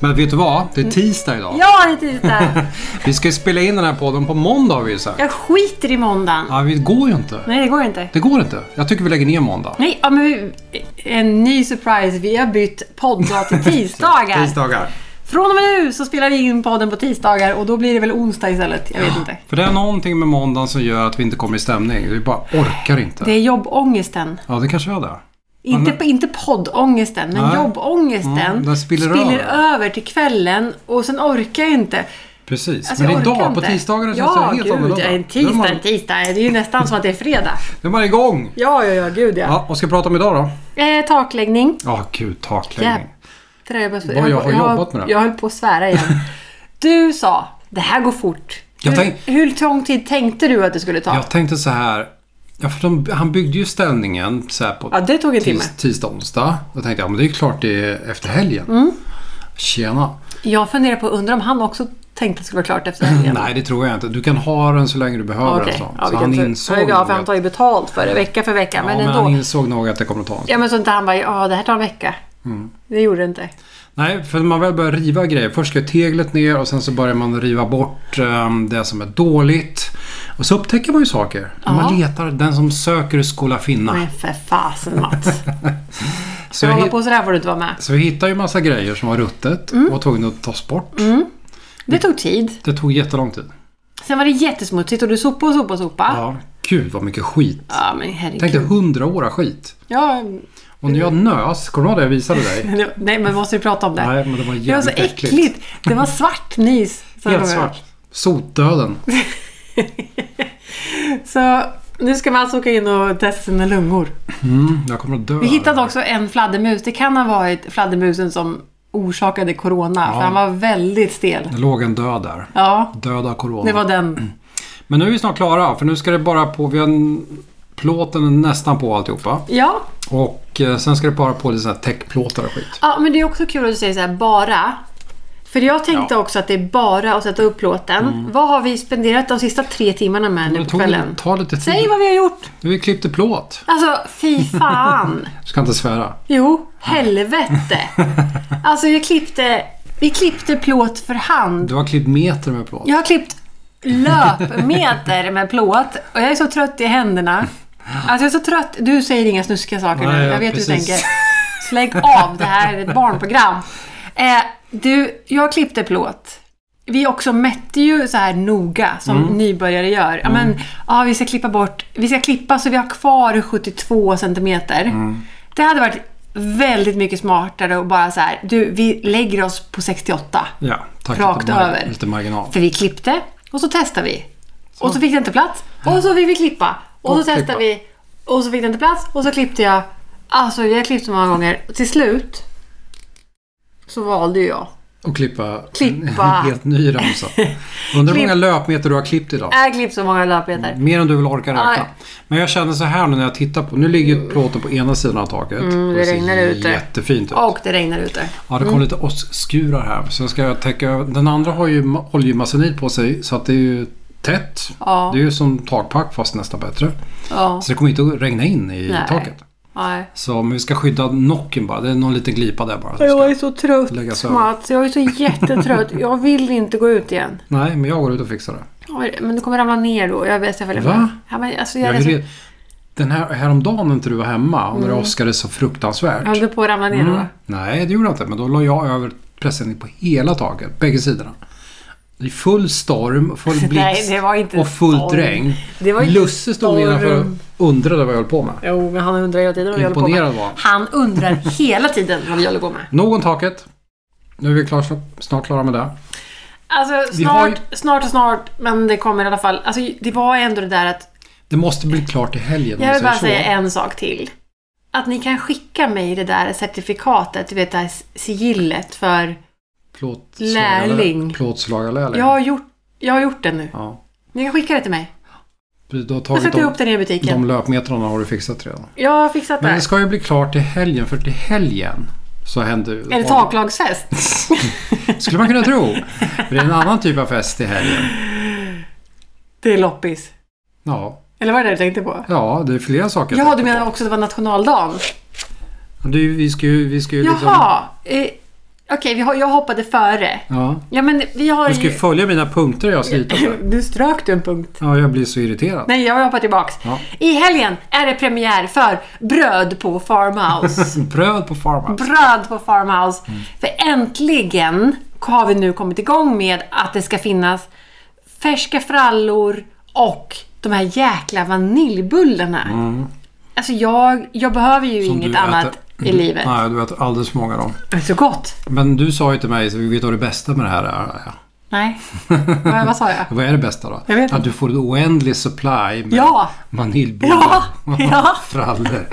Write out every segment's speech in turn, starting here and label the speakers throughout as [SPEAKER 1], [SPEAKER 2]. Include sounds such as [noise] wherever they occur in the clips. [SPEAKER 1] Men vet du vad? Det är tisdag idag.
[SPEAKER 2] Mm. Ja, det är tisdag.
[SPEAKER 1] Vi ska ju spela in den här podden på måndag har vi ju sagt.
[SPEAKER 2] Jag skiter i måndagen.
[SPEAKER 1] Ja, det går ju inte.
[SPEAKER 2] Nej, det går inte.
[SPEAKER 1] Det går inte. Jag tycker vi lägger ner måndag.
[SPEAKER 2] Nej, ja, men vi, en ny surprise. Vi har bytt podddag
[SPEAKER 1] [laughs]
[SPEAKER 2] till tisdagar.
[SPEAKER 1] Tisdagar.
[SPEAKER 2] Från och med nu så spelar vi in podden på tisdagar och då blir det väl onsdag istället. Jag vet inte.
[SPEAKER 1] För det är någonting med måndagen som gör att vi inte kommer i stämning. Vi bara orkar inte.
[SPEAKER 2] Det är jobbångesten.
[SPEAKER 1] Ja, det kanske är det.
[SPEAKER 2] Inte, på- inte poddångesten, men
[SPEAKER 1] Nej.
[SPEAKER 2] jobbångesten
[SPEAKER 1] Mm, den spiller
[SPEAKER 2] över. till kvällen och sen orkar jag inte.
[SPEAKER 1] Precis.
[SPEAKER 2] Alltså,
[SPEAKER 1] Men
[SPEAKER 2] jag orkar
[SPEAKER 1] idag, på
[SPEAKER 2] inte.
[SPEAKER 1] tisdagar, känns det
[SPEAKER 2] ja,
[SPEAKER 1] helt
[SPEAKER 2] gud,
[SPEAKER 1] annorlunda.
[SPEAKER 2] En
[SPEAKER 1] Då är man-
[SPEAKER 2] tisdag, en tisdag. Det är ju nästan som att det är fredag.
[SPEAKER 1] Då är man igång.
[SPEAKER 2] Ja, ja, ja, gud ja.
[SPEAKER 1] Ja, vad ska vi prata om idag då?
[SPEAKER 2] Eh, takläggning.
[SPEAKER 1] Ja, gud, takläggning.
[SPEAKER 2] Jävlar, jag, bara,
[SPEAKER 1] Vad jag har jobbat med det.
[SPEAKER 2] Jag höll på att svära
[SPEAKER 1] [laughs]
[SPEAKER 2] igen. Du sa, det här går fort.
[SPEAKER 1] Jag
[SPEAKER 2] Hur,
[SPEAKER 1] tänk-
[SPEAKER 2] hur lång tid tänkte du att det skulle ta?
[SPEAKER 1] Jag tänkte så här. Ja, för de, han byggde ju ställningen så här på
[SPEAKER 2] Ja, det tog en timme.
[SPEAKER 1] tis, tisdag, onsdag. Då tänkte jag, men det är ju klart det är efter helgen.
[SPEAKER 2] Mm.
[SPEAKER 1] Tjena.
[SPEAKER 2] Jag funderar på, undrar om han också tänkte att det skulle vara klart efter helgen?
[SPEAKER 1] Nej, det tror jag inte. Du kan ha den så länge du behöver
[SPEAKER 2] Okej.
[SPEAKER 1] den. Så,
[SPEAKER 2] Ja, vi
[SPEAKER 1] så
[SPEAKER 2] kan
[SPEAKER 1] han
[SPEAKER 2] ta-
[SPEAKER 1] insåg
[SPEAKER 2] Ja, för han
[SPEAKER 1] nog
[SPEAKER 2] tar
[SPEAKER 1] att,
[SPEAKER 2] ju betalt för det vecka för vecka.
[SPEAKER 1] ja,
[SPEAKER 2] men
[SPEAKER 1] men
[SPEAKER 2] ändå.
[SPEAKER 1] han insåg nog att det kommer att ta en stund.
[SPEAKER 2] Ja, men så inte han bara, ja det här tar en vecka.
[SPEAKER 1] Mm.
[SPEAKER 2] Det gjorde det inte.
[SPEAKER 1] Nej, för när man väl börjar riva grejer. Först ska teglet ner och sen så börjar man riva bort eh, det som är dåligt. Och så upptäcker man ju saker. När Man letar. Den som söker skola finna.
[SPEAKER 2] Men för
[SPEAKER 1] [laughs]
[SPEAKER 2] fasen Mats.
[SPEAKER 1] Så
[SPEAKER 2] Ska
[SPEAKER 1] jag
[SPEAKER 2] du hålla
[SPEAKER 1] hitt-
[SPEAKER 2] på Mm. sådär får du inte vara med.
[SPEAKER 1] Så vi hittade ju massa grejer som var ruttet och var tvungna att tas
[SPEAKER 2] Mm.
[SPEAKER 1] bort.
[SPEAKER 2] Det tog tid.
[SPEAKER 1] Det tog jättelång tid.
[SPEAKER 2] Sen var det jättesmutsigt och du sopade och sopade och sopade. Ja.
[SPEAKER 1] Ja, gud vad mycket skit.
[SPEAKER 2] men
[SPEAKER 1] Tänk dig
[SPEAKER 2] herregud.
[SPEAKER 1] hundra år skit.
[SPEAKER 2] Ja, [laughs]
[SPEAKER 1] Och när jag nös, kommer du ihåg det jag visade dig?
[SPEAKER 2] nej men måste vi prata om det?
[SPEAKER 1] Nej, men det var jävligt
[SPEAKER 2] det var så äckligt. Det var svart nys. sa de.
[SPEAKER 1] Helt svart. Sotdöden.
[SPEAKER 2] Så nu ska man alltså åka in och testa sina lungor.
[SPEAKER 1] Mm, jag kommer att dö.
[SPEAKER 2] Vi hittade också en fladdermus. Det kan ha varit fladdermusen som orsakade corona. För han var väldigt stel.
[SPEAKER 1] Det låg en död där.
[SPEAKER 2] Ja,
[SPEAKER 1] Död av corona.
[SPEAKER 2] det var den.
[SPEAKER 1] Men nu är vi snart klara, för nu ska det bara på... Vi har en... Plåten är nästan på alltihopa.
[SPEAKER 2] Ja,
[SPEAKER 1] Och eh, sen ska det bara på lite sådana här täckplåtar och skit.
[SPEAKER 2] Ja, men det är också kul att du säger så här, bara. För jag tänkte också att det är bara att sätta upp låten. Vad har vi spenderat de sista tre timmarna med
[SPEAKER 1] Mm.
[SPEAKER 2] nu
[SPEAKER 1] Men det
[SPEAKER 2] på
[SPEAKER 1] tog,
[SPEAKER 2] kvällen?
[SPEAKER 1] tar lite tid.
[SPEAKER 2] Säg vad vi har gjort!
[SPEAKER 1] Vi klippte plåt.
[SPEAKER 2] Alltså,
[SPEAKER 1] [laughs]
[SPEAKER 2] fy fan!
[SPEAKER 1] Du ska inte svära.
[SPEAKER 2] Jo, helvete! Alltså, jag klippte, vi klippte plåt för hand.
[SPEAKER 1] Du har klippt meter med plåt.
[SPEAKER 2] Jag har klippt löpmeter med plåt och jag är så trött i händerna. Alltså jag är så trött. Du säger inga snuskiga saker nu.
[SPEAKER 1] Nej, ja,
[SPEAKER 2] Jag vet hur du
[SPEAKER 1] precis. [laughs]
[SPEAKER 2] tänker. Slägg av. Det här är ett barnprogram. Eh, du, jag klippte plåt. Vi också mätte ju så här noga som
[SPEAKER 1] Mm.
[SPEAKER 2] nybörjare gör. Ja, men, ja, vi ska klippa bort. Vi ska klippa så vi har kvar 72 centimeter.
[SPEAKER 1] Mm.
[SPEAKER 2] Det hade varit väldigt mycket smartare att bara så här. Du, vi lägger oss på 68.
[SPEAKER 1] Ja, tack.
[SPEAKER 2] Rakt
[SPEAKER 1] lite, mar-
[SPEAKER 2] över.
[SPEAKER 1] lite marginal.
[SPEAKER 2] För vi klippte och så testade vi. Och så fick det inte plats. Och så fick vi klippa. Och,
[SPEAKER 1] Och
[SPEAKER 2] så testade vi. Och så fick det inte plats. Och så klippte jag. Alltså jag klippte så många gånger. Och till slut så valde ju jag.
[SPEAKER 1] Och klippa,
[SPEAKER 2] Klippa.
[SPEAKER 1] en helt ny ramsa. Undrar hur många löpmeter du har klippt idag?
[SPEAKER 2] Jag klippte så många löpmeter.
[SPEAKER 1] Mer än du vill orka räkna.
[SPEAKER 2] Nej.
[SPEAKER 1] Men jag känner så här nu när jag tittar på... Nu ligger ju plåten på ena sidan av taket.
[SPEAKER 2] Mm, det
[SPEAKER 1] och
[SPEAKER 2] regnar ute. mm.
[SPEAKER 1] jättefint ut.
[SPEAKER 2] Och det regnar ute.
[SPEAKER 1] Ja, det kom lite åskskurar här. Så jag ska täcka över. Den andra har ju ma- oljemasonit på sig så att det är ju tätt.
[SPEAKER 2] Ja.
[SPEAKER 1] Det är ju som takpack fast nästan bättre.
[SPEAKER 2] Ja.
[SPEAKER 1] Så det kommer inte att regna in i
[SPEAKER 2] Nej.
[SPEAKER 1] taket.
[SPEAKER 2] Nej.
[SPEAKER 1] Så men vi ska skydda nocken bara. Det är någon liten glipa där bara. som
[SPEAKER 2] Jag
[SPEAKER 1] Ska...
[SPEAKER 2] är så trött
[SPEAKER 1] Läggas över.
[SPEAKER 2] Mats. Jag är så jättetrött. Jag vill inte gå ut igen.
[SPEAKER 1] Nej, men jag går ut och fixar det.
[SPEAKER 2] Oj, Men du kommer ramla ner då. Jag vet jag följer
[SPEAKER 1] Va?
[SPEAKER 2] med. Ja, men alltså, jag,
[SPEAKER 1] Jag
[SPEAKER 2] jag,
[SPEAKER 1] är
[SPEAKER 2] jag,
[SPEAKER 1] red... Den här häromdagen när inte du var hemma och när det
[SPEAKER 2] Mm.
[SPEAKER 1] åskade så fruktansvärt.
[SPEAKER 2] jag höll på att ramla ner
[SPEAKER 1] Mm.
[SPEAKER 2] då.
[SPEAKER 1] Nej, det gjorde jag inte. Men då la jag över presenning på hela taket, bägge sidorna. I full storm, full blixt
[SPEAKER 2] [laughs] Nej, det var inte
[SPEAKER 1] och fullt
[SPEAKER 2] storm.
[SPEAKER 1] regn.
[SPEAKER 2] Det var ju
[SPEAKER 1] Lusse stod
[SPEAKER 2] storm.
[SPEAKER 1] innanför och undrade vad jag höll på med.
[SPEAKER 2] Jo, men han undrar hela tiden vad vi håller på med.
[SPEAKER 1] Imponerad var han.
[SPEAKER 2] Han undrar hela tiden vad vi håller på med.
[SPEAKER 1] Nog om taket. Nu är vi klar, snart klara med det.
[SPEAKER 2] Alltså
[SPEAKER 1] Vi har
[SPEAKER 2] snart, snart och snart, men det kommer i alla fall. Alltså det var ändå det där att...
[SPEAKER 1] Det måste bli klart till helgen. om vi
[SPEAKER 2] Jag vill
[SPEAKER 1] säger
[SPEAKER 2] bara
[SPEAKER 1] så.
[SPEAKER 2] säga en sak till. Att ni kan skicka mig det där certifikatet, du vet det här sigillet för...
[SPEAKER 1] Plåtslagarlä-
[SPEAKER 2] lärling.
[SPEAKER 1] Plåtslagarlärling.
[SPEAKER 2] Jag har gjort, jag har gjort det nu.
[SPEAKER 1] Ja.
[SPEAKER 2] Ni kan skicka det till mig.
[SPEAKER 1] Du har
[SPEAKER 2] Jag
[SPEAKER 1] tagit
[SPEAKER 2] sätter
[SPEAKER 1] de,
[SPEAKER 2] ihop det nere i
[SPEAKER 1] de
[SPEAKER 2] butiken.
[SPEAKER 1] löpmetrarna har du fixat redan.
[SPEAKER 2] Jag har fixat
[SPEAKER 1] Men det
[SPEAKER 2] det.
[SPEAKER 1] ska ju bli klart till helgen, för till helgen Så hände...
[SPEAKER 2] Är det taklagsfest?
[SPEAKER 1] [laughs] Skulle man kunna tro. Men det är en annan typ av fest i helgen.
[SPEAKER 2] Det är loppis.
[SPEAKER 1] Ja,
[SPEAKER 2] Eller var det det du tänkte på?
[SPEAKER 1] ja det är flera saker. jag
[SPEAKER 2] Ja, du
[SPEAKER 1] tänker
[SPEAKER 2] menar också att det var nationaldagen?
[SPEAKER 1] på. Du, vi ska ju... Vi ska ju liksom...
[SPEAKER 2] Jaha! Eh, Okej, vi har- jag hoppade före.
[SPEAKER 1] Ja.
[SPEAKER 2] Ja, men vi har
[SPEAKER 1] Du ska ju
[SPEAKER 2] ju...
[SPEAKER 1] följa mina punkter jag har skrivit på.
[SPEAKER 2] Nu strök du en punkt.
[SPEAKER 1] Ja, jag blir så irriterad.
[SPEAKER 2] Nej, jag hoppar tillbaks.
[SPEAKER 1] Ja.
[SPEAKER 2] I helgen är det premiär för Bröd på
[SPEAKER 1] [laughs]
[SPEAKER 2] Farmhouse.
[SPEAKER 1] Bröd på Farmhouse.
[SPEAKER 2] Bröd på Farmhouse.
[SPEAKER 1] Mm.
[SPEAKER 2] För äntligen har vi nu kommit igång med att det ska finnas färska frallor och de här jäkla vaniljbullarna. Alltså jag, jag behöver ju
[SPEAKER 1] Mm. Som
[SPEAKER 2] inget
[SPEAKER 1] du
[SPEAKER 2] annat
[SPEAKER 1] äter. Mm.
[SPEAKER 2] i livet.
[SPEAKER 1] Nej, du äter alldeles för många av dem.
[SPEAKER 2] Det är så gott.
[SPEAKER 1] Men du sa ju till mig, så vi vet vad det bästa med det här är. [laughs]
[SPEAKER 2] Nej, vad, vad sa jag?
[SPEAKER 1] Vad är det bästa då?
[SPEAKER 2] Jag vet inte.
[SPEAKER 1] Att du får en oändlig supply med
[SPEAKER 2] Ja.
[SPEAKER 1] vaniljbullar
[SPEAKER 2] Ja, ja.
[SPEAKER 1] frallor.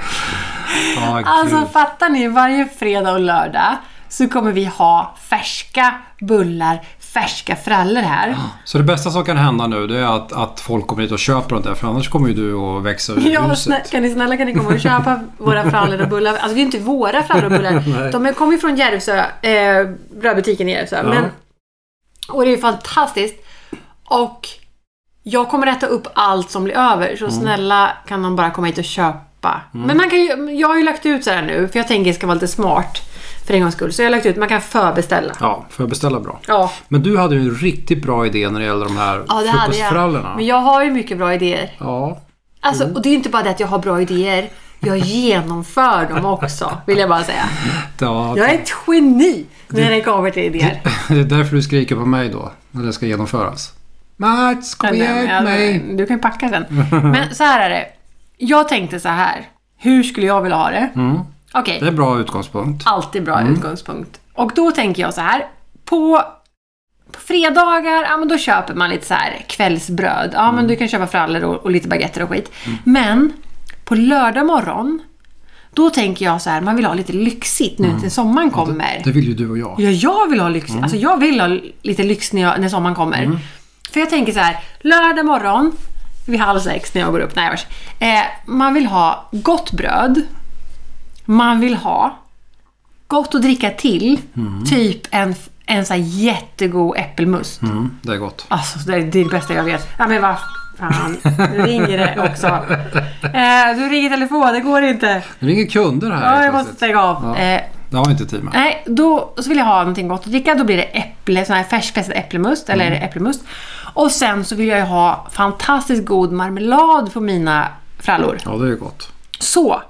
[SPEAKER 1] Ja,
[SPEAKER 2] Alltså
[SPEAKER 1] gud.
[SPEAKER 2] fattar ni? Varje fredag och lördag så kommer vi ha färska bullar, färska frallor här.
[SPEAKER 1] Så det bästa som kan hända nu det är att, att folk kommer hit och köper det där för annars kommer ju du att växa ur
[SPEAKER 2] [laughs] [laughs] Ja,
[SPEAKER 1] huset.
[SPEAKER 2] snä- kan ni snälla kan ni komma och köpa våra frallor och bullar? Alltså det är ju inte våra frallor och bullar.
[SPEAKER 1] [laughs] Nej.
[SPEAKER 2] De är- kommer ju från Järvsö, eh, brödbutiken i Järvsö.
[SPEAKER 1] Ja.
[SPEAKER 2] Men, och det är ju fantastiskt. Och jag kommer äta upp allt som blir över.
[SPEAKER 1] Mm.
[SPEAKER 2] Så snälla kan de bara komma hit och köpa. Men man kan ju, jag har ju lagt ut så här nu, för jag tänker att det ska vara lite smart. För en gångs skull. Så jag har lagt ut, man kan förbeställa.
[SPEAKER 1] Ja, får jag beställa bra.
[SPEAKER 2] Ja,
[SPEAKER 1] Men du hade ju en riktigt bra idé när det gäller de här
[SPEAKER 2] ja det hade jag.
[SPEAKER 1] frukostfrallorna. Mm.
[SPEAKER 2] Men jag har ju mycket bra idéer.
[SPEAKER 1] Ja,
[SPEAKER 2] Alltså, och det är inte bara det att jag har bra idéer. Jag genomför dem också, vill jag bara säga.
[SPEAKER 1] ja
[SPEAKER 2] Jag är ett geni när det kommer till idéer.
[SPEAKER 1] [laughs] det är därför du skriker på mig då när det ska genomföras. Mats, kom och hjälp mig!
[SPEAKER 2] Du kan ju packa sen. Men så här är det. Jag tänkte så här. Hur skulle jag vilja ha det?
[SPEAKER 1] Mm.
[SPEAKER 2] Okej,
[SPEAKER 1] Det är en bra utgångspunkt.
[SPEAKER 2] alltid bra utgångspunkt. Och då tänker jag så här. På, på fredagar, ja men då köper man lite så här kvällsbröd. Ja men du kan köpa frallor och, och lite baguetter och skit. Men på lördag morgon, då tänker jag så här. Man vill ha lite lyxigt nu till sommaren kommer.
[SPEAKER 1] Det vill ju du och jag.
[SPEAKER 2] Ja, jag vill ha lyx.
[SPEAKER 1] Mm.
[SPEAKER 2] Alltså jag vill ha lite lyx när, jag, när sommaren kommer. För jag tänker så här, lördag morgon vid halv sex när jag går upp. Nej, vars. eh, man vill ha gott bröd. Man vill ha gott att dricka till. Typ en, en så här jättegod äppelmust.
[SPEAKER 1] Mm, det är gott.
[SPEAKER 2] Alltså det är det bästa jag vet. Ja men vad fan. Nu ringer det
[SPEAKER 1] [laughs]
[SPEAKER 2] också. Eh, du ringer telefon, det går inte.
[SPEAKER 1] Det ringer kunder här
[SPEAKER 2] Ja,
[SPEAKER 1] helt
[SPEAKER 2] jag måste
[SPEAKER 1] plötsligt.
[SPEAKER 2] stänga av.
[SPEAKER 1] Ja.
[SPEAKER 2] Eh,
[SPEAKER 1] Det har vi inte tid med.
[SPEAKER 2] Nej, då så vill jag ha någonting gott att dricka. Då blir det äpple, sån här färskpressad äppelmust. Eller är det äppelmust? Och sen så vill jag ju ha fantastiskt god marmelad på mina frallor.
[SPEAKER 1] Ja, det är gott.
[SPEAKER 2] Så,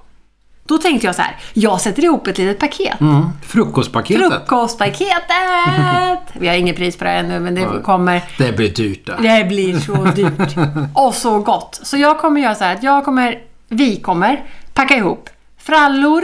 [SPEAKER 2] då tänkte jag så här. Jag sätter ihop ett litet paket.
[SPEAKER 1] Mm. Frukostpaketet.
[SPEAKER 2] Frukostpaketet! Vi har inget pris på det här ännu, men det kommer.
[SPEAKER 1] det blir dyrt det.
[SPEAKER 2] Det blir så dyrt. Och så gott. Så jag kommer göra så här att jag kommer, vi kommer packa ihop frallor,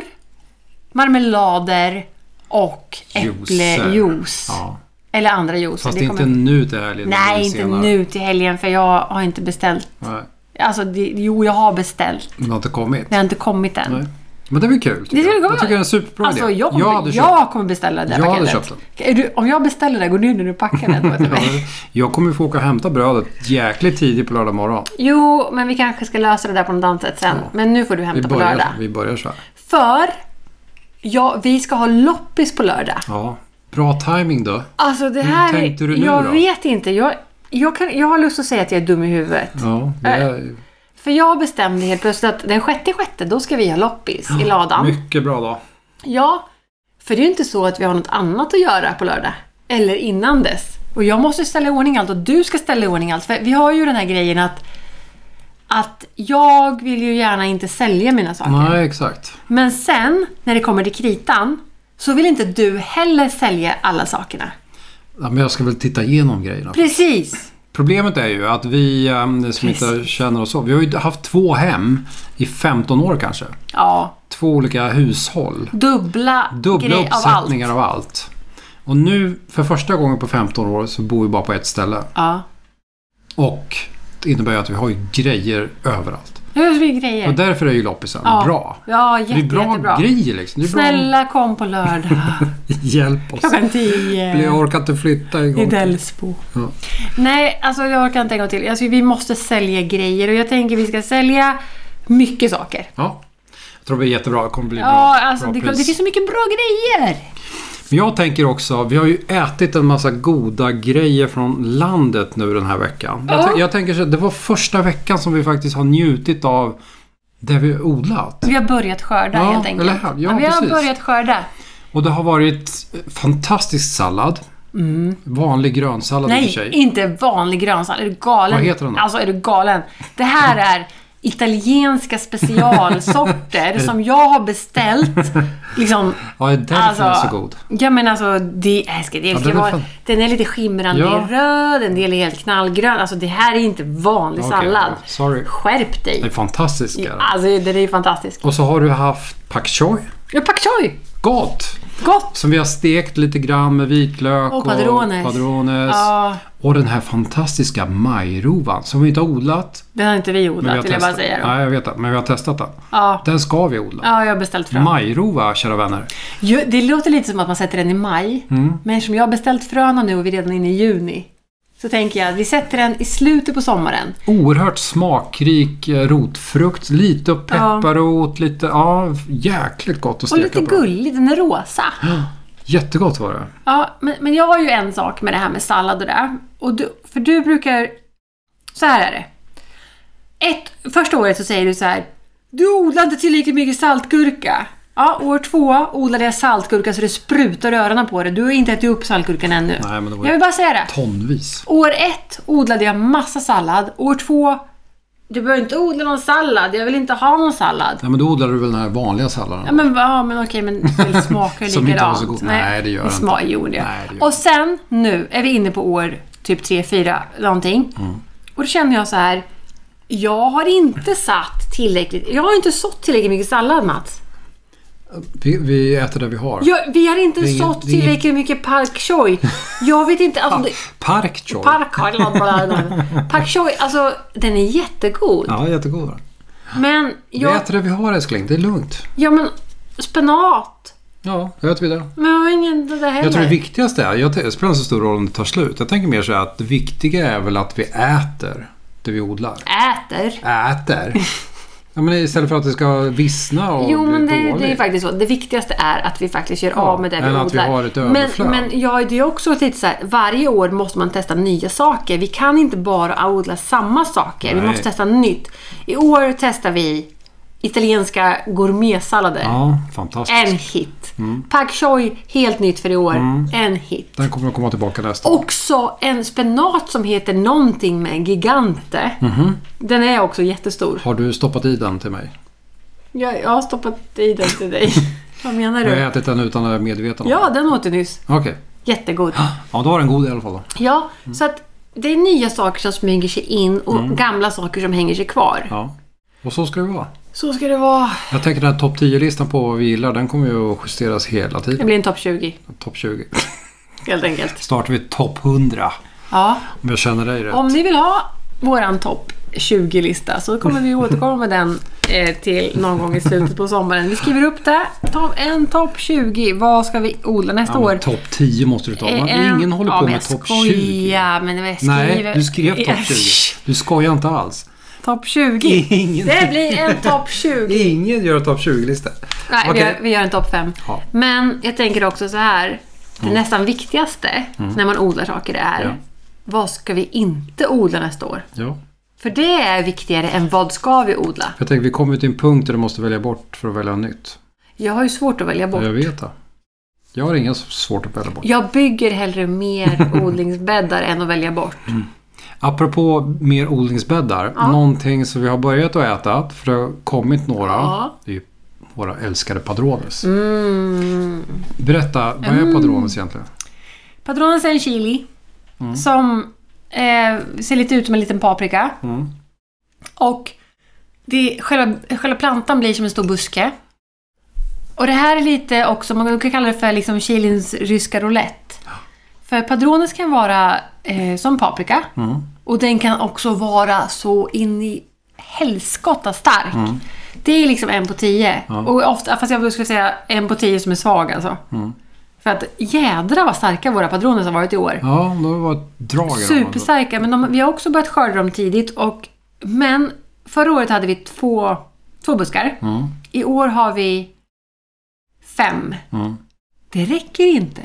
[SPEAKER 2] marmelader och
[SPEAKER 1] Juicer.
[SPEAKER 2] äpplejuice.
[SPEAKER 1] Ja.
[SPEAKER 2] Eller andra juice.
[SPEAKER 1] Fast
[SPEAKER 2] Det
[SPEAKER 1] det är
[SPEAKER 2] kommer-
[SPEAKER 1] inte nu till helgen. det blir
[SPEAKER 2] Nej, inte
[SPEAKER 1] senare.
[SPEAKER 2] nu till helgen för jag har inte beställt.
[SPEAKER 1] Nej,
[SPEAKER 2] Alltså, det, jo, jag har beställt.
[SPEAKER 1] det har inte kommit.
[SPEAKER 2] Det har inte kommit än.
[SPEAKER 1] Nej. Men det blir kul.
[SPEAKER 2] Det
[SPEAKER 1] tycker
[SPEAKER 2] skulle
[SPEAKER 1] jag.
[SPEAKER 2] komma.
[SPEAKER 1] jag tycker det är en superbra
[SPEAKER 2] alltså,
[SPEAKER 1] idé.
[SPEAKER 2] jag,
[SPEAKER 1] jag hade
[SPEAKER 2] kommer,
[SPEAKER 1] köpt.
[SPEAKER 2] jag kommer beställa det här
[SPEAKER 1] Jag hade
[SPEAKER 2] paketet. Är du, om jag beställer det, går du in och du packar
[SPEAKER 1] [laughs]
[SPEAKER 2] den åt mig?
[SPEAKER 1] Ja, Jag kommer få åka och hämta brödet jäkligt tidigt på lördag morgon.
[SPEAKER 2] Jo, men vi kanske ska lösa det där på något annat sätt sen. Men nu får du
[SPEAKER 1] Vi
[SPEAKER 2] hämta på lördag.
[SPEAKER 1] börjar, vi börjar så här.
[SPEAKER 2] För ja, vi ska ha loppis på lördag.
[SPEAKER 1] Ja. Bra timing då.
[SPEAKER 2] Alltså det här
[SPEAKER 1] tänkte
[SPEAKER 2] är...
[SPEAKER 1] du nu
[SPEAKER 2] jag
[SPEAKER 1] då?
[SPEAKER 2] vet inte. Jag, jag, kan, jag har lust att säga att jag är dum i huvudet.
[SPEAKER 1] Ja, det
[SPEAKER 2] Äh,
[SPEAKER 1] är
[SPEAKER 2] För jag bestämde helt plötsligt att den sjätte i sjätte, då ska vi ha loppis i ladan.
[SPEAKER 1] mycket bra dag.
[SPEAKER 2] Ja, för det är ju inte så att vi har något annat att göra på lördag. Eller innan dess. Och jag måste ställa i ordning allt och du ska ställa i ordning allt. För vi har ju den här grejen att, att jag vill ju gärna inte sälja mina saker.
[SPEAKER 1] Nej, exakt.
[SPEAKER 2] Men sen, när det kommer till kritan, så vill inte du heller sälja alla sakerna.
[SPEAKER 1] Ja, men jag ska väl titta igenom grejerna.
[SPEAKER 2] Precis!
[SPEAKER 1] Problemet är ju att vi eh, som inte
[SPEAKER 2] Precis.
[SPEAKER 1] känner oss så, vi har ju haft två hem i 15 år kanske.
[SPEAKER 2] Ja,
[SPEAKER 1] Två olika hushåll.
[SPEAKER 2] dubbla,
[SPEAKER 1] Dubbla
[SPEAKER 2] grej av allt.
[SPEAKER 1] uppsättningar av allt. Och nu för första gången på 15 år så bor vi bara på ett ställe.
[SPEAKER 2] Ja.
[SPEAKER 1] Och det innebär ju att vi har ju grejer överallt.
[SPEAKER 2] Nu har vi grejer.
[SPEAKER 1] Och därför är ju loppisen
[SPEAKER 2] ja.
[SPEAKER 1] bra.
[SPEAKER 2] Ja,
[SPEAKER 1] Det är
[SPEAKER 2] jätte,
[SPEAKER 1] bra
[SPEAKER 2] jättebra.
[SPEAKER 1] grejer liksom. Det är bra
[SPEAKER 2] Snälla kom på lördag
[SPEAKER 1] [laughs] Hjälp oss.
[SPEAKER 2] klockan tio
[SPEAKER 1] Jag orkar inte flytta en
[SPEAKER 2] i
[SPEAKER 1] gång.
[SPEAKER 2] Delsbo.
[SPEAKER 1] Ja.
[SPEAKER 2] Nej, alltså jag orkar inte en gång till. Alltså, vi måste sälja grejer och jag tänker vi ska sälja mycket saker.
[SPEAKER 1] Ja. Jag tror det blir jättebra. Det kommer bli bra,
[SPEAKER 2] Ja, alltså
[SPEAKER 1] bra
[SPEAKER 2] det,
[SPEAKER 1] pris.
[SPEAKER 2] det finns så mycket bra grejer.
[SPEAKER 1] Men jag tänker också, vi har ju ätit en massa goda grejer från landet nu den här veckan. Jag,
[SPEAKER 2] Ja.
[SPEAKER 1] tän- jag tänker så det var första veckan som vi faktiskt har njutit av det vi har odlat.
[SPEAKER 2] Vi har börjat skörda
[SPEAKER 1] Ja,
[SPEAKER 2] helt enkelt.
[SPEAKER 1] eller hur? Ja,
[SPEAKER 2] vi har
[SPEAKER 1] precis.
[SPEAKER 2] börjat skörda.
[SPEAKER 1] Och det har varit fantastisk sallad. Vanlig grönsallad i och för
[SPEAKER 2] Mm.
[SPEAKER 1] sig.
[SPEAKER 2] Nej, inte vanlig grönsallad. Är du galen?
[SPEAKER 1] Vad heter den då?
[SPEAKER 2] Alltså, är du galen? Det här är
[SPEAKER 1] [laughs]
[SPEAKER 2] italienska specialsorter som jag har beställt. Liksom,
[SPEAKER 1] Ja, det är därför
[SPEAKER 2] Alltså,
[SPEAKER 1] den är så god.
[SPEAKER 2] Ja men alltså, det, jag ska, jag
[SPEAKER 1] Ja,
[SPEAKER 2] ska
[SPEAKER 1] den är
[SPEAKER 2] vara,
[SPEAKER 1] fan-
[SPEAKER 2] den är lite skimrande
[SPEAKER 1] Ja.
[SPEAKER 2] röd, en del är helt knallgrön. Alltså det här är inte vanlig
[SPEAKER 1] Okej,
[SPEAKER 2] sallad.
[SPEAKER 1] sorry.
[SPEAKER 2] Skärp dig!
[SPEAKER 1] Den är fantastisk. är den.
[SPEAKER 2] Alltså den är ju fantastisk.
[SPEAKER 1] Och så har du haft pak choi.
[SPEAKER 2] Ja, pak choi!
[SPEAKER 1] Gott!
[SPEAKER 2] Gott!
[SPEAKER 1] Som vi har stekt lite grann med vitlök
[SPEAKER 2] Och padrones.
[SPEAKER 1] padrones.
[SPEAKER 2] Ja,
[SPEAKER 1] Och den här fantastiska majrovan som vi inte har odlat.
[SPEAKER 2] den har inte vi odlat
[SPEAKER 1] har
[SPEAKER 2] vill jag bara
[SPEAKER 1] testat.
[SPEAKER 2] säga då.
[SPEAKER 1] Nej, jag vet det. Men vi har testat den.
[SPEAKER 2] Ja.
[SPEAKER 1] Den ska vi odla.
[SPEAKER 2] ja, jag har beställt frön.
[SPEAKER 1] Majrova, kära vänner.
[SPEAKER 2] Jo, det låter lite som att man sätter den i maj.
[SPEAKER 1] Mm.
[SPEAKER 2] Men som jag har beställt fröna nu och vi är redan inne i juni. Så tänker jag att vi sätter den i slutet på sommaren.
[SPEAKER 1] Oerhört smakrik eh, rotfrukt. Lite pepparrot, lite... Ja, jäkligt gott att
[SPEAKER 2] Och
[SPEAKER 1] steka
[SPEAKER 2] lite
[SPEAKER 1] på.
[SPEAKER 2] gullig, den
[SPEAKER 1] [gasps]
[SPEAKER 2] är rosa.
[SPEAKER 1] Jättegott var det.
[SPEAKER 2] Ja, men, men jag har ju en sak med det här med sallad och det. där. Och du, för du brukar... Så här är det. Ett, första året så säger du så här. Du odlar inte tillräckligt mycket saltgurka. Ja, år två odlade jag saltgurka så det sprutar i öronen på dig. Du har inte ätit upp saltgurkan ännu.
[SPEAKER 1] Nej, men det var
[SPEAKER 2] Jag
[SPEAKER 1] ju
[SPEAKER 2] vill bara säga det.
[SPEAKER 1] tonvis.
[SPEAKER 2] År ett odlade jag massa sallad. År två... Du behöver inte odla någon sallad. Jag vill inte ha någon sallad.
[SPEAKER 1] Nej, men då odlade du väl den här vanliga salladen?
[SPEAKER 2] Ja men, ja, men okej, men
[SPEAKER 1] [laughs]
[SPEAKER 2] det smakar ju
[SPEAKER 1] Som
[SPEAKER 2] likadant.
[SPEAKER 1] inte var så god. Nej, det gör
[SPEAKER 2] det
[SPEAKER 1] det
[SPEAKER 2] sma- Jo, det gör.
[SPEAKER 1] Nej, det gör
[SPEAKER 2] Och sen nu är vi inne på år typ 3-4 någonting.
[SPEAKER 1] Mm.
[SPEAKER 2] Och då känner jag så här. Jag har inte satt tillräckligt. Jag har inte sått tillräckligt mycket sallad Mats.
[SPEAKER 1] vi, vi äter det vi har.
[SPEAKER 2] Jag, vi har inte
[SPEAKER 1] Det är ingen-
[SPEAKER 2] sått
[SPEAKER 1] det är ingen-
[SPEAKER 2] tillräckligt mycket pak choi. Jag vet inte. Alltså, det,
[SPEAKER 1] Park choi.
[SPEAKER 2] park, pak choi, alltså den är jättegod.
[SPEAKER 1] Ja, jättegod var den.
[SPEAKER 2] Men
[SPEAKER 1] Vi
[SPEAKER 2] jag...
[SPEAKER 1] äter det vi har älskling. Det är lugnt.
[SPEAKER 2] Ja men spenat.
[SPEAKER 1] Ja, då äter vi det.
[SPEAKER 2] Men jag har ingen det där heller.
[SPEAKER 1] Jag tror det viktigaste är, jag, det spelar inte så stor roll om det tar slut. Jag tänker mer så här att det viktiga är väl att vi äter det vi odlar.
[SPEAKER 2] Äter.
[SPEAKER 1] Äter? Ja, men istället för att det ska vissna och
[SPEAKER 2] Jo,
[SPEAKER 1] bli
[SPEAKER 2] men det,
[SPEAKER 1] dåligt.
[SPEAKER 2] det är faktiskt så. Det viktigaste är att vi faktiskt gör av med det vi
[SPEAKER 1] eller
[SPEAKER 2] odlar.
[SPEAKER 1] att vi har ett överflöd.
[SPEAKER 2] men men ja, det är också lite så här, varje år måste man testa nya saker. Vi kan inte bara odla samma saker. Vi
[SPEAKER 1] Nej.
[SPEAKER 2] måste testa nytt. I år testar vi italienska gourmetsallader.
[SPEAKER 1] Ja, Mm. fantastiskt.
[SPEAKER 2] En hit. Pak choi, helt nytt för i år.
[SPEAKER 1] Mm.
[SPEAKER 2] En hit.
[SPEAKER 1] Den kommer att komma tillbaka nästa år.
[SPEAKER 2] Också en spenat som heter någonting med gigante.
[SPEAKER 1] Mhm.
[SPEAKER 2] Den är också jättestor.
[SPEAKER 1] Har du stoppat i den till mig?
[SPEAKER 2] Jag, jag har stoppat i den
[SPEAKER 1] [laughs]
[SPEAKER 2] till dig. Vad menar
[SPEAKER 1] Jag har
[SPEAKER 2] du?
[SPEAKER 1] ätit den utan att vara medveten om
[SPEAKER 2] Mm. Ja, den åt du nyss.
[SPEAKER 1] det. Okej.
[SPEAKER 2] Jättegod.
[SPEAKER 1] Ja, Mm. då var den god i alla fall. Då.
[SPEAKER 2] Ja, så att det är nya saker som smyger sig in och gamla saker som hänger sig kvar.
[SPEAKER 1] Mm. Ja. Och så ska det vara.
[SPEAKER 2] Så ska det vara.
[SPEAKER 1] Jag tänker den här topp 10-listan på vad vi gillar, den kommer ju att justeras hela
[SPEAKER 2] Det
[SPEAKER 1] tiden.
[SPEAKER 2] blir en topp 20,
[SPEAKER 1] Topp 20.
[SPEAKER 2] helt enkelt.
[SPEAKER 1] Snart är vi topp 100.
[SPEAKER 2] Ja.
[SPEAKER 1] Om jag känner dig rätt.
[SPEAKER 2] Om ni vill ha våran topp 20-lista så kommer vi återkomma med den eh, till någon gång i slutet på sommaren. Vi skriver upp det. Ta en topp 20. Vad ska vi odla nästa
[SPEAKER 1] Ja, men
[SPEAKER 2] år?
[SPEAKER 1] Topp 10 måste du ta. Man,
[SPEAKER 2] Eh,
[SPEAKER 1] ingen håller
[SPEAKER 2] ja,
[SPEAKER 1] på
[SPEAKER 2] men
[SPEAKER 1] med
[SPEAKER 2] jag
[SPEAKER 1] topp 20.
[SPEAKER 2] skojar, men jag
[SPEAKER 1] Nej,
[SPEAKER 2] skriver-
[SPEAKER 1] du skrev topp 20. Du skojar inte alls.
[SPEAKER 2] Topp 20.
[SPEAKER 1] Ingen,
[SPEAKER 2] Det blir en topp 20.
[SPEAKER 1] ingen gör topp 20-lista.
[SPEAKER 2] Nej,
[SPEAKER 1] Okej.
[SPEAKER 2] vi, gör, vi gör en topp fem.
[SPEAKER 1] Ja. Mm.
[SPEAKER 2] Men jag tänker också så här. Det nästan viktigaste när man odlar saker är
[SPEAKER 1] Ja.
[SPEAKER 2] vad ska vi inte odla nästa år?
[SPEAKER 1] Ja.
[SPEAKER 2] För det är viktigare än vad ska vi odla?
[SPEAKER 1] Jag tänker, vi kommer till en punkt där du måste välja bort för att välja nytt.
[SPEAKER 2] Jag har ju svårt att välja bort.
[SPEAKER 1] Jag vet det. Jag har inga svårt att välja bort.
[SPEAKER 2] Jag bygger
[SPEAKER 1] [laughs]
[SPEAKER 2] hellre mer odlingsbäddar än att välja bort.
[SPEAKER 1] Apropå mer odlingsbäddar. Någonting som vi har börjat att äta, för det har kommit några.
[SPEAKER 2] Ja.
[SPEAKER 1] Det är ju våra älskade padrones.
[SPEAKER 2] Mm.
[SPEAKER 1] Berätta, vad är padrones egentligen?
[SPEAKER 2] Padrones är en chili som eh, ser lite ut som en liten paprika.
[SPEAKER 1] Mm.
[SPEAKER 2] Och det, själva, själva plantan blir som en stor buske. Och det här är lite också, man kan kalla det för liksom Kilins ryska roulette. För padrones kan vara eh, som paprika. Och den kan också vara så in i helskotta stark. Det är liksom en på tio. Och ofta, fast jag skulle säga en på tio som är svag alltså. För att jädra vad starka våra padrones har varit i år.
[SPEAKER 1] Ja, det var ett drag. i dem.
[SPEAKER 2] Superstarka, men de, vi har också börjat skörda dem tidigt. Och, men förra året hade vi två, två buskar. I år har vi fem.
[SPEAKER 1] Mm.
[SPEAKER 2] Det räcker inte.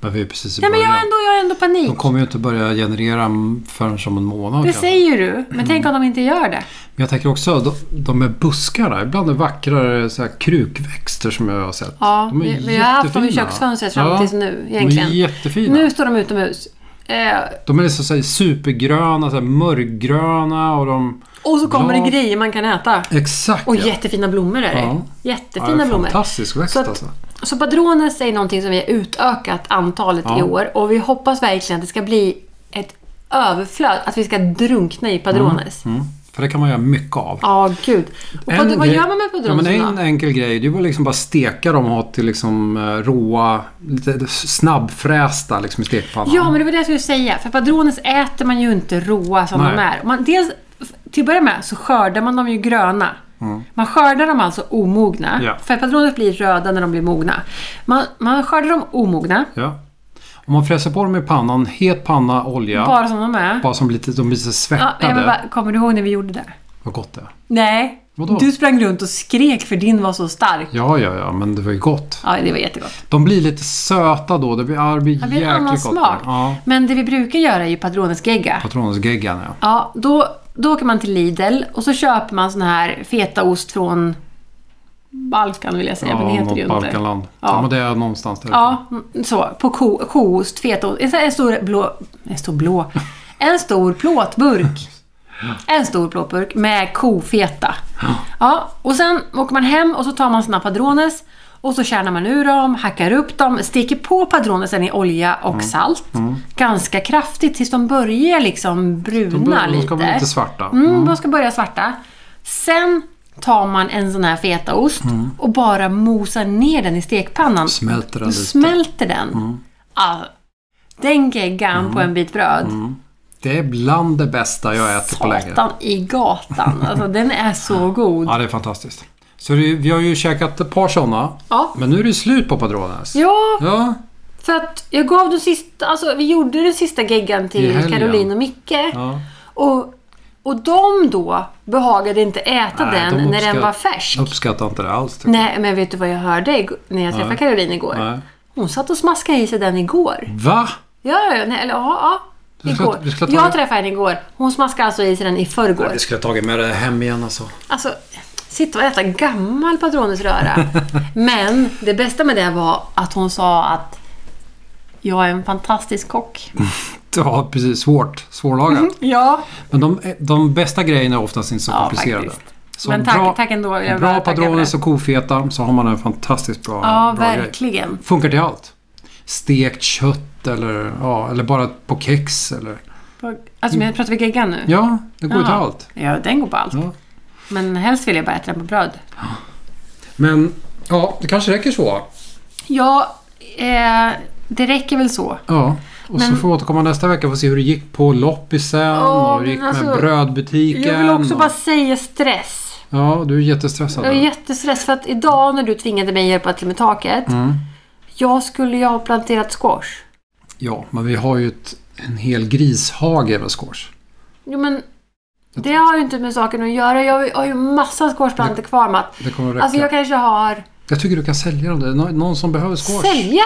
[SPEAKER 1] Men vi är precis i
[SPEAKER 2] Nej, men jag har
[SPEAKER 1] början.
[SPEAKER 2] ändå, jag har ändå panik.
[SPEAKER 1] De kommer ju inte börja generera förrän om en månad.
[SPEAKER 2] Det
[SPEAKER 1] kanske.
[SPEAKER 2] säger du, men tänk om de inte gör det.
[SPEAKER 1] Men jag tänker också, de, de här buskarna, ibland är vackrare så här, krukväxter som jag har sett.
[SPEAKER 2] Ja,
[SPEAKER 1] de är
[SPEAKER 2] vi, vi har haft dem i
[SPEAKER 1] jättefina.
[SPEAKER 2] köksfönstret fram
[SPEAKER 1] Ja,
[SPEAKER 2] tills nu
[SPEAKER 1] De är
[SPEAKER 2] egentligen.
[SPEAKER 1] jättefina.
[SPEAKER 2] Nu står de utomhus. Eh,
[SPEAKER 1] De är liksom så här, supergröna, så här, mörkgröna och de...
[SPEAKER 2] och så kommer
[SPEAKER 1] Ja.
[SPEAKER 2] det grejer man kan äta.
[SPEAKER 1] Exakt
[SPEAKER 2] Och
[SPEAKER 1] ja.
[SPEAKER 2] jättefina blommor är det.
[SPEAKER 1] Ja.
[SPEAKER 2] Jättefina
[SPEAKER 1] Ja, det är
[SPEAKER 2] blommor.
[SPEAKER 1] Fantastisk växt
[SPEAKER 2] Så att-
[SPEAKER 1] alltså.
[SPEAKER 2] Så padrones är någonting som vi har utökat antalet
[SPEAKER 1] Ja.
[SPEAKER 2] i år och vi hoppas verkligen att det ska bli ett överflöd, att vi ska drunkna i padrones.
[SPEAKER 1] Mm. För det kan man göra mycket av.
[SPEAKER 2] Ja, gud. Och
[SPEAKER 1] En
[SPEAKER 2] vad, vad
[SPEAKER 1] grej-
[SPEAKER 2] gör man med
[SPEAKER 1] ja, men
[SPEAKER 2] padrones
[SPEAKER 1] En
[SPEAKER 2] då?
[SPEAKER 1] enkel grej, det är ju liksom bara steka dem och ha till liksom eh, råa, lite snabbfrästa liksom i stekpannan.
[SPEAKER 2] Ja, men det var det jag skulle säga. För padrones äter man ju inte råa som
[SPEAKER 1] Nej.
[SPEAKER 2] de är. Man, dels, till att börja med så skördar man dem ju gröna. Man skördar dem alltså omogna.
[SPEAKER 1] Mm. Ja.
[SPEAKER 2] För padrones blir röda när de blir mogna. Man, man skördar dem omogna,
[SPEAKER 1] Ja. Om man fräser på dem i pannan, het panna, olja. Bara,
[SPEAKER 2] bara som de är.
[SPEAKER 1] som lite, de blir så
[SPEAKER 2] Ja,
[SPEAKER 1] svettade.
[SPEAKER 2] jag vill bara, kommer du ihåg när vi gjorde det?
[SPEAKER 1] Vad gott det är.
[SPEAKER 2] Nej.
[SPEAKER 1] Vadå?
[SPEAKER 2] Du sprang runt och skrek för din var så stark.
[SPEAKER 1] Ja, ja, ja, men det var ju gott.
[SPEAKER 2] Ja, det var jättegott.
[SPEAKER 1] De blir lite söta då. Det blir, ja, det blir,
[SPEAKER 2] Det blir en
[SPEAKER 1] jäkligt
[SPEAKER 2] annan
[SPEAKER 1] gott.
[SPEAKER 2] smak.
[SPEAKER 1] Ja.
[SPEAKER 2] Men det vi brukar göra är ju padronesgegga.
[SPEAKER 1] Patronusgeggan, ja.
[SPEAKER 2] Ja, då, då åker man till Lidl och så köper man sån här fetaost från Balkan vill jag säga, men det heter det ju
[SPEAKER 1] något
[SPEAKER 2] inte.
[SPEAKER 1] Balkanland. Ja.
[SPEAKER 2] Ja.
[SPEAKER 1] men det är någonstans där.
[SPEAKER 2] Ja, mm, så. På ko, koost, fetaost. En, sån här- en stor blå... En stor blå? En stor plåtburk. En stor plåtburk med kofeta. Ja, och sen åker man hem och så tar man sina padrones och så kärnar man ur dem, hackar upp dem, steker på padronesen i olja och
[SPEAKER 1] Mm.
[SPEAKER 2] salt. Ganska kraftigt tills de börjar liksom bruna
[SPEAKER 1] De, bör- de
[SPEAKER 2] lite.
[SPEAKER 1] ska bli lite svarta.
[SPEAKER 2] Mm, de ska börja svarta. Sen tar man en sån här fetaost
[SPEAKER 1] Mm.
[SPEAKER 2] och bara mosar ner den i stekpannan.
[SPEAKER 1] Smälter den
[SPEAKER 2] Då
[SPEAKER 1] lite.
[SPEAKER 2] smälter den.
[SPEAKER 1] Mm.
[SPEAKER 2] Ah, den geggan på en bit bröd.
[SPEAKER 1] Det är bland det bästa jag äter Mm. på länge.
[SPEAKER 2] Satan i
[SPEAKER 1] [laughs]
[SPEAKER 2] gatan. Alltså, den är så god.
[SPEAKER 1] Ja, det är fantastiskt. Så det, vi har ju käkat ett par sådana.
[SPEAKER 2] Ja.
[SPEAKER 1] Men nu är det slut på Padrones.
[SPEAKER 2] Ja,
[SPEAKER 1] Ja,
[SPEAKER 2] för att jag gav den sista... Alltså, vi gjorde den sista geggan
[SPEAKER 1] I
[SPEAKER 2] till
[SPEAKER 1] helgen.
[SPEAKER 2] Caroline och Micke.
[SPEAKER 1] ja.
[SPEAKER 2] Och, och de då behagade inte äta
[SPEAKER 1] Nej,
[SPEAKER 2] den
[SPEAKER 1] de
[SPEAKER 2] när den
[SPEAKER 1] uppskatt-
[SPEAKER 2] var färsk.
[SPEAKER 1] Jag uppskattar inte det alls. tycker
[SPEAKER 2] Nej, men vet du vad jag hörde ig- när jag träffade
[SPEAKER 1] Nej.
[SPEAKER 2] Caroline igår?
[SPEAKER 1] jag. Nej.
[SPEAKER 2] Hon satt och smaskade i sig den igår.
[SPEAKER 1] Va?
[SPEAKER 2] Ja, ja, ja, nej, eller ja, ja.
[SPEAKER 1] Du ska-
[SPEAKER 2] Igår.
[SPEAKER 1] du ska ta den-
[SPEAKER 2] Jag träffade henne igår. Hon smaskade alltså i sig den i förrgår.
[SPEAKER 1] Vi skulle ha tagit med det hem igen alltså.
[SPEAKER 2] Alltså, sitta och äta gammal [laughs] patronusröra. Men det bästa med det var att hon sa att jag är en fantastisk kock.
[SPEAKER 1] Ja, precis. Svårt. Svårlagat.
[SPEAKER 2] [laughs] Ja,
[SPEAKER 1] Men de, de bästa grejerna är oftast inte så
[SPEAKER 2] Ja,
[SPEAKER 1] komplicerade.
[SPEAKER 2] faktiskt.
[SPEAKER 1] Så
[SPEAKER 2] Men tack- tack ändå. Jag vill
[SPEAKER 1] bra
[SPEAKER 2] tacka för
[SPEAKER 1] padrones
[SPEAKER 2] det.
[SPEAKER 1] och kofeta så har man en fantastiskt bra,
[SPEAKER 2] ja
[SPEAKER 1] bra grej.
[SPEAKER 2] verkligen.
[SPEAKER 1] Funkar till allt. Stekt kött eller, ja, eller bara på kex. Eller.
[SPEAKER 2] Alltså, men pratar vi geggan nu?
[SPEAKER 1] Ja, det går ju till
[SPEAKER 2] Ja.
[SPEAKER 1] allt.
[SPEAKER 2] Ja, den går på allt.
[SPEAKER 1] Ja.
[SPEAKER 2] Men helst vill jag bara äta den på bröd.
[SPEAKER 1] Men ja, det kanske räcker så.
[SPEAKER 2] Ja, eh, det räcker väl så.
[SPEAKER 1] Ja. Och så får vi återkomma nästa vecka och se hur det gick på loppisen
[SPEAKER 2] Åh,
[SPEAKER 1] och hur det gick
[SPEAKER 2] men alltså,
[SPEAKER 1] med brödbutiken.
[SPEAKER 2] Jag vill också
[SPEAKER 1] och,
[SPEAKER 2] bara säga stress.
[SPEAKER 1] Ja, du är jättestressad.
[SPEAKER 2] Jag är
[SPEAKER 1] nu.
[SPEAKER 2] jättestressad för att idag när du tvingade mig att hjälpa till med taket.
[SPEAKER 1] Mm.
[SPEAKER 2] Jag skulle ju ha planterat squash.
[SPEAKER 1] Ja, men vi har ju ett, en hel grishage med squash.
[SPEAKER 2] Jo men det har ju inte med saken att göra. Jag har ju- har ju massa squashplantor kvar Matt.
[SPEAKER 1] Det kommer att räcka.
[SPEAKER 2] Alltså jag kanske har...
[SPEAKER 1] Jag tycker du kan sälja dem. Det är nå- någon som behöver squash.
[SPEAKER 2] Sälja?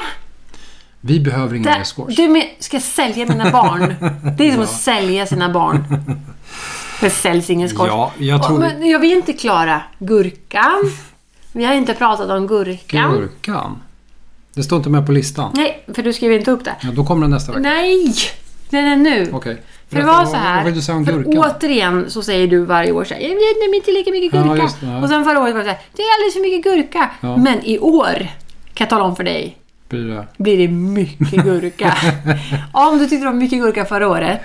[SPEAKER 1] Vi behöver ingen mer
[SPEAKER 2] Där,
[SPEAKER 1] squash.
[SPEAKER 2] du men, ska jag sälja mina barn? Det är som att sälja
[SPEAKER 1] [laughs]
[SPEAKER 2] sina barn. Det säljs ingen squash.
[SPEAKER 1] Ja, jag tror...
[SPEAKER 2] Och, men jag vill inte klara gurkan. Vi har inte pratat om gurkan.
[SPEAKER 1] Gurkan. Det står inte med på listan.
[SPEAKER 2] Nej, för du skriver inte upp det.
[SPEAKER 1] Ja, då kommer den nästa vecka.
[SPEAKER 2] Nej! Den är nu.
[SPEAKER 1] Okej.
[SPEAKER 2] För det
[SPEAKER 1] Berätta,
[SPEAKER 2] var
[SPEAKER 1] vad-
[SPEAKER 2] så här.
[SPEAKER 1] Vad vill du säga om
[SPEAKER 2] för
[SPEAKER 1] gurkan?
[SPEAKER 2] Återigen så säger du varje år så här, jag vet inte lika mycket
[SPEAKER 1] Ja,
[SPEAKER 2] gurka.
[SPEAKER 1] just det, ja.
[SPEAKER 2] Och sen förra året var det så här, det är alldeles för mycket gurka.
[SPEAKER 1] Ja.
[SPEAKER 2] Men i år, kan jag tala om för dig,
[SPEAKER 1] Blir det-
[SPEAKER 2] blir det
[SPEAKER 1] [laughs]
[SPEAKER 2] mycket gurka. ja, om du tyckte det var mycket gurka förra året.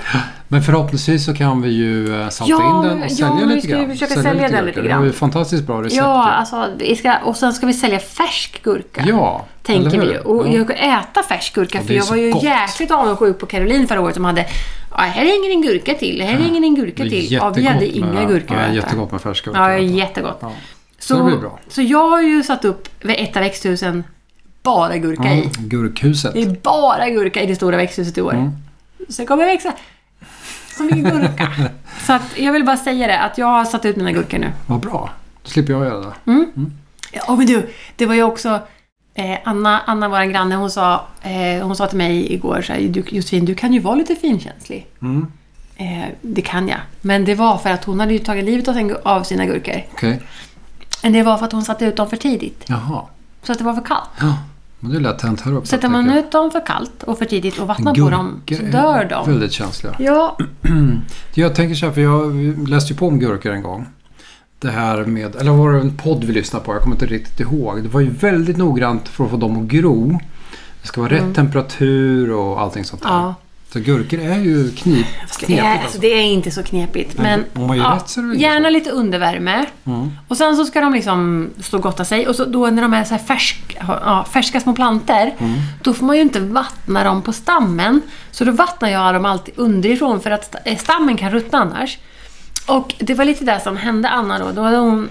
[SPEAKER 1] Men förhoppningsvis så kan vi ju eh, salta
[SPEAKER 2] Ja,
[SPEAKER 1] in den
[SPEAKER 2] men-
[SPEAKER 1] och
[SPEAKER 2] ja,
[SPEAKER 1] sälja
[SPEAKER 2] men vi
[SPEAKER 1] lite
[SPEAKER 2] ska ju
[SPEAKER 1] grann.
[SPEAKER 2] försöka sälja den
[SPEAKER 1] gurka. Det
[SPEAKER 2] lite
[SPEAKER 1] var ju
[SPEAKER 2] grann.
[SPEAKER 1] ett fantastiskt bra recept.
[SPEAKER 2] Ja,
[SPEAKER 1] ju.
[SPEAKER 2] alltså, vi ska, och sen ska vi sälja färsk gurka.
[SPEAKER 1] ja
[SPEAKER 2] Tänker
[SPEAKER 1] eller
[SPEAKER 2] vi
[SPEAKER 1] hur?
[SPEAKER 2] ju. Och
[SPEAKER 1] Ja.
[SPEAKER 2] jag ska äta färsk gurka
[SPEAKER 1] det
[SPEAKER 2] för
[SPEAKER 1] är
[SPEAKER 2] jag
[SPEAKER 1] så
[SPEAKER 2] var ju
[SPEAKER 1] gott.
[SPEAKER 2] jäkligt avundsjuk på Caroline förra året som hade "Ja, här hänger en gurka till, här hänger en gurka
[SPEAKER 1] Det är
[SPEAKER 2] till. Ja, vi
[SPEAKER 1] jättegott
[SPEAKER 2] hade inga
[SPEAKER 1] med,
[SPEAKER 2] gurkor
[SPEAKER 1] nej,
[SPEAKER 2] att äta.
[SPEAKER 1] Jättegott med färska gurkor.
[SPEAKER 2] Ja,
[SPEAKER 1] att äta.
[SPEAKER 2] jättegott.
[SPEAKER 1] Ja.
[SPEAKER 2] Så,
[SPEAKER 1] Så det
[SPEAKER 2] så,
[SPEAKER 1] blir bra.
[SPEAKER 2] jag har ju satt upp vid ett av växthusen bara gurka i.
[SPEAKER 1] Mm, gurkhuset.
[SPEAKER 2] Det är bara gurka i det stora växthuset i år.
[SPEAKER 1] Mm.
[SPEAKER 2] Så det kommer växa
[SPEAKER 1] [laughs]
[SPEAKER 2] så mycket gurka. så att jag vill bara säga det, att jag har satt ut mina gurkor nu.
[SPEAKER 1] Vad bra. Då slipper jag göra det.
[SPEAKER 2] Mm. Ja, men du, det var ju också eh, Anna, Anna vår granne, hon sa, eh, hon sa till mig igår så här, "Du, Josefin, du kan ju vara lite finkänslig.
[SPEAKER 1] Mm.
[SPEAKER 2] Eh, det kan jag. Men det var för att hon hade ju tagit livet av sin- av sina gurkor.
[SPEAKER 1] Okej.
[SPEAKER 2] Men det var för att hon satte ut dem för tidigt.
[SPEAKER 1] Jaha.
[SPEAKER 2] Så att det var för kallt.
[SPEAKER 1] Ja. Men det är lätt hänt här uppe.
[SPEAKER 2] Sätter man ut dem för kallt och för tidigt och vattnar på dem så dör de.
[SPEAKER 1] Väldigt känsliga.
[SPEAKER 2] Ja,
[SPEAKER 1] Jag tänker så här, för jag läste ju på om gurkor en gång. Det här med, eller var det en podd vi lyssnade på? Jag kommer inte riktigt ihåg. Det var ju väldigt noggrant för att få dem att gro. Det ska vara rätt temperatur och allting sånt där.
[SPEAKER 2] Mm. ja.
[SPEAKER 1] Så gurkor är ju knip, knepigt.
[SPEAKER 2] Det, är,
[SPEAKER 1] alltså.
[SPEAKER 2] det är inte så knepigt.
[SPEAKER 1] Men
[SPEAKER 2] Men,
[SPEAKER 1] om man gör rätt så är det väl
[SPEAKER 2] gärna
[SPEAKER 1] inget
[SPEAKER 2] lite undervärme.
[SPEAKER 1] Mm.
[SPEAKER 2] Och sen så ska de liksom stå och gotta sig. Och så då när de är så här färsk, ja, färska små planter
[SPEAKER 1] Mm.
[SPEAKER 2] då får man ju inte vattna dem på stammen. Så då vattnar jag dem alltid underifrån för att sta- eh, stammen kan ruttna annars. Och det var lite det som hände Anna då. Då hade hon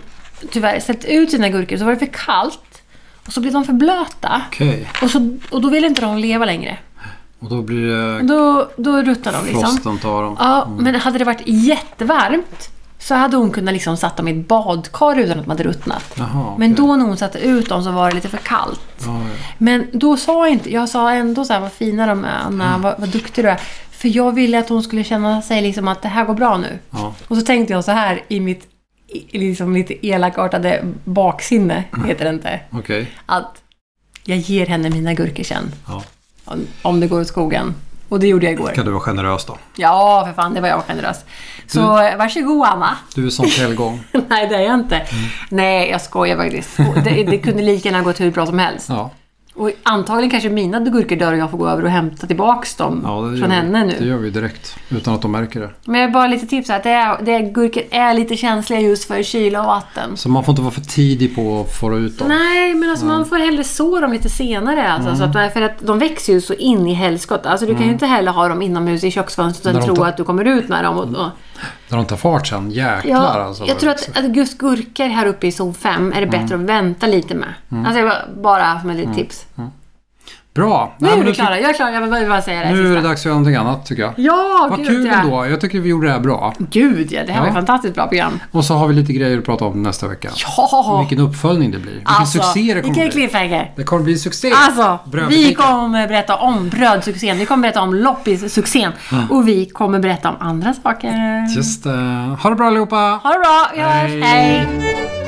[SPEAKER 2] tyvärr sett ut sina gurkor så var det för kallt. Och så blev de för blöta.
[SPEAKER 1] Okej,
[SPEAKER 2] Och, så, och då ville inte de leva längre.
[SPEAKER 1] och då blir det
[SPEAKER 2] Då, då ruttnade de liksom.
[SPEAKER 1] frosten tar dem.
[SPEAKER 2] Ja, men hade det varit jättevarmt så hade hon kunnat liksom satt dem i ett badkar utan att de hade ruttnat.
[SPEAKER 1] Jaha,
[SPEAKER 2] Men
[SPEAKER 1] okej.
[SPEAKER 2] då när hon satte ut dem så var det lite för kallt.
[SPEAKER 1] Ja,
[SPEAKER 2] Men då sa jag inte, jag sa ändå så här vad fina de är Anna, vad, vad duktig du är. För jag ville att hon skulle känna sig liksom att det här går bra nu.
[SPEAKER 1] ja.
[SPEAKER 2] Och så tänkte jag så här i mitt i- liksom lite elakartade baksinne, heter det inte,
[SPEAKER 1] ja okej.
[SPEAKER 2] att jag ger henne mina gurkor sen.
[SPEAKER 1] Ja.
[SPEAKER 2] Om- Om det går åt skogen. Och det gjorde jag igår.
[SPEAKER 1] Kan du vara generös då?
[SPEAKER 2] Ja, för fan, det var jag generös. Så
[SPEAKER 1] Mm.
[SPEAKER 2] eh, varsågod Anna. [laughs]
[SPEAKER 1] Du är sån helgon.
[SPEAKER 2] Nej, det är jag inte.
[SPEAKER 1] Mm.
[SPEAKER 2] Nej, jag skojar faktiskt. Och Det, det kunde lika gärna gått hur bra som helst.
[SPEAKER 1] Ja,
[SPEAKER 2] Och antagligen kanske mina gurkor dör och jag får gå över och hämta tillbaks dem
[SPEAKER 1] ja det, gör
[SPEAKER 2] från henne
[SPEAKER 1] vi, det
[SPEAKER 2] nu.
[SPEAKER 1] gör vi direkt. Utan att de märker det.
[SPEAKER 2] Men jag har bara lite tips här. att Det är, det är, gurkor är lite känsliga just för kyla och vatten.
[SPEAKER 1] Så man får inte vara för tidig på att föra ut dem.
[SPEAKER 2] Nej, men alltså man får hellre så dem lite senare. Alltså,
[SPEAKER 1] Mm.
[SPEAKER 2] så att, för att de växer ju så in i helskotta. Alltså, du kan ju inte heller ha dem inomhus i köksfönstret
[SPEAKER 1] När
[SPEAKER 2] och
[SPEAKER 1] de
[SPEAKER 2] tro
[SPEAKER 1] tar-
[SPEAKER 2] att du kommer ut med dem. Och, och,
[SPEAKER 1] När de tar fart sen, jäklar
[SPEAKER 2] Ja,
[SPEAKER 1] alltså.
[SPEAKER 2] jag tror att, att just gurkor här uppe i zon 5 är det bättre
[SPEAKER 1] Mm.
[SPEAKER 2] att vänta lite med. Alltså jag bara- bara som ett litet tips.
[SPEAKER 1] Bra!
[SPEAKER 2] Nu
[SPEAKER 1] Mm. Nej, men
[SPEAKER 2] är du
[SPEAKER 1] tyck-
[SPEAKER 2] klar, jag är klar. Jag vill bara- bara säga det här
[SPEAKER 1] nu är det
[SPEAKER 2] sista.
[SPEAKER 1] dags att göra någonting annat tycker jag.
[SPEAKER 2] Ja,
[SPEAKER 1] Vad
[SPEAKER 2] gud
[SPEAKER 1] kul
[SPEAKER 2] ja.
[SPEAKER 1] ändå. Jag tycker vi gjorde det här bra.
[SPEAKER 2] Gud ja, det här var
[SPEAKER 1] Ja.
[SPEAKER 2] ett fantastiskt bra program.
[SPEAKER 1] Och så har vi lite grejer att prata om nästa vecka.
[SPEAKER 2] Ja!
[SPEAKER 1] Vilken uppföljning det blir. Vilken
[SPEAKER 2] Alltså,
[SPEAKER 1] succé det kommer
[SPEAKER 2] vilken
[SPEAKER 1] bli.
[SPEAKER 2] cliffhanger.
[SPEAKER 1] Det kommer bli succé!
[SPEAKER 2] Alltså, vi
[SPEAKER 1] Brödbutiken.
[SPEAKER 2] kommer berätta om brödsuccén, vi kommer berätta om loppissuccén och vi kommer berätta om andra saker.
[SPEAKER 1] Just det. Ha det bra allihopa!
[SPEAKER 2] Ha det bra, vi hörs,
[SPEAKER 1] Hej.
[SPEAKER 2] hej!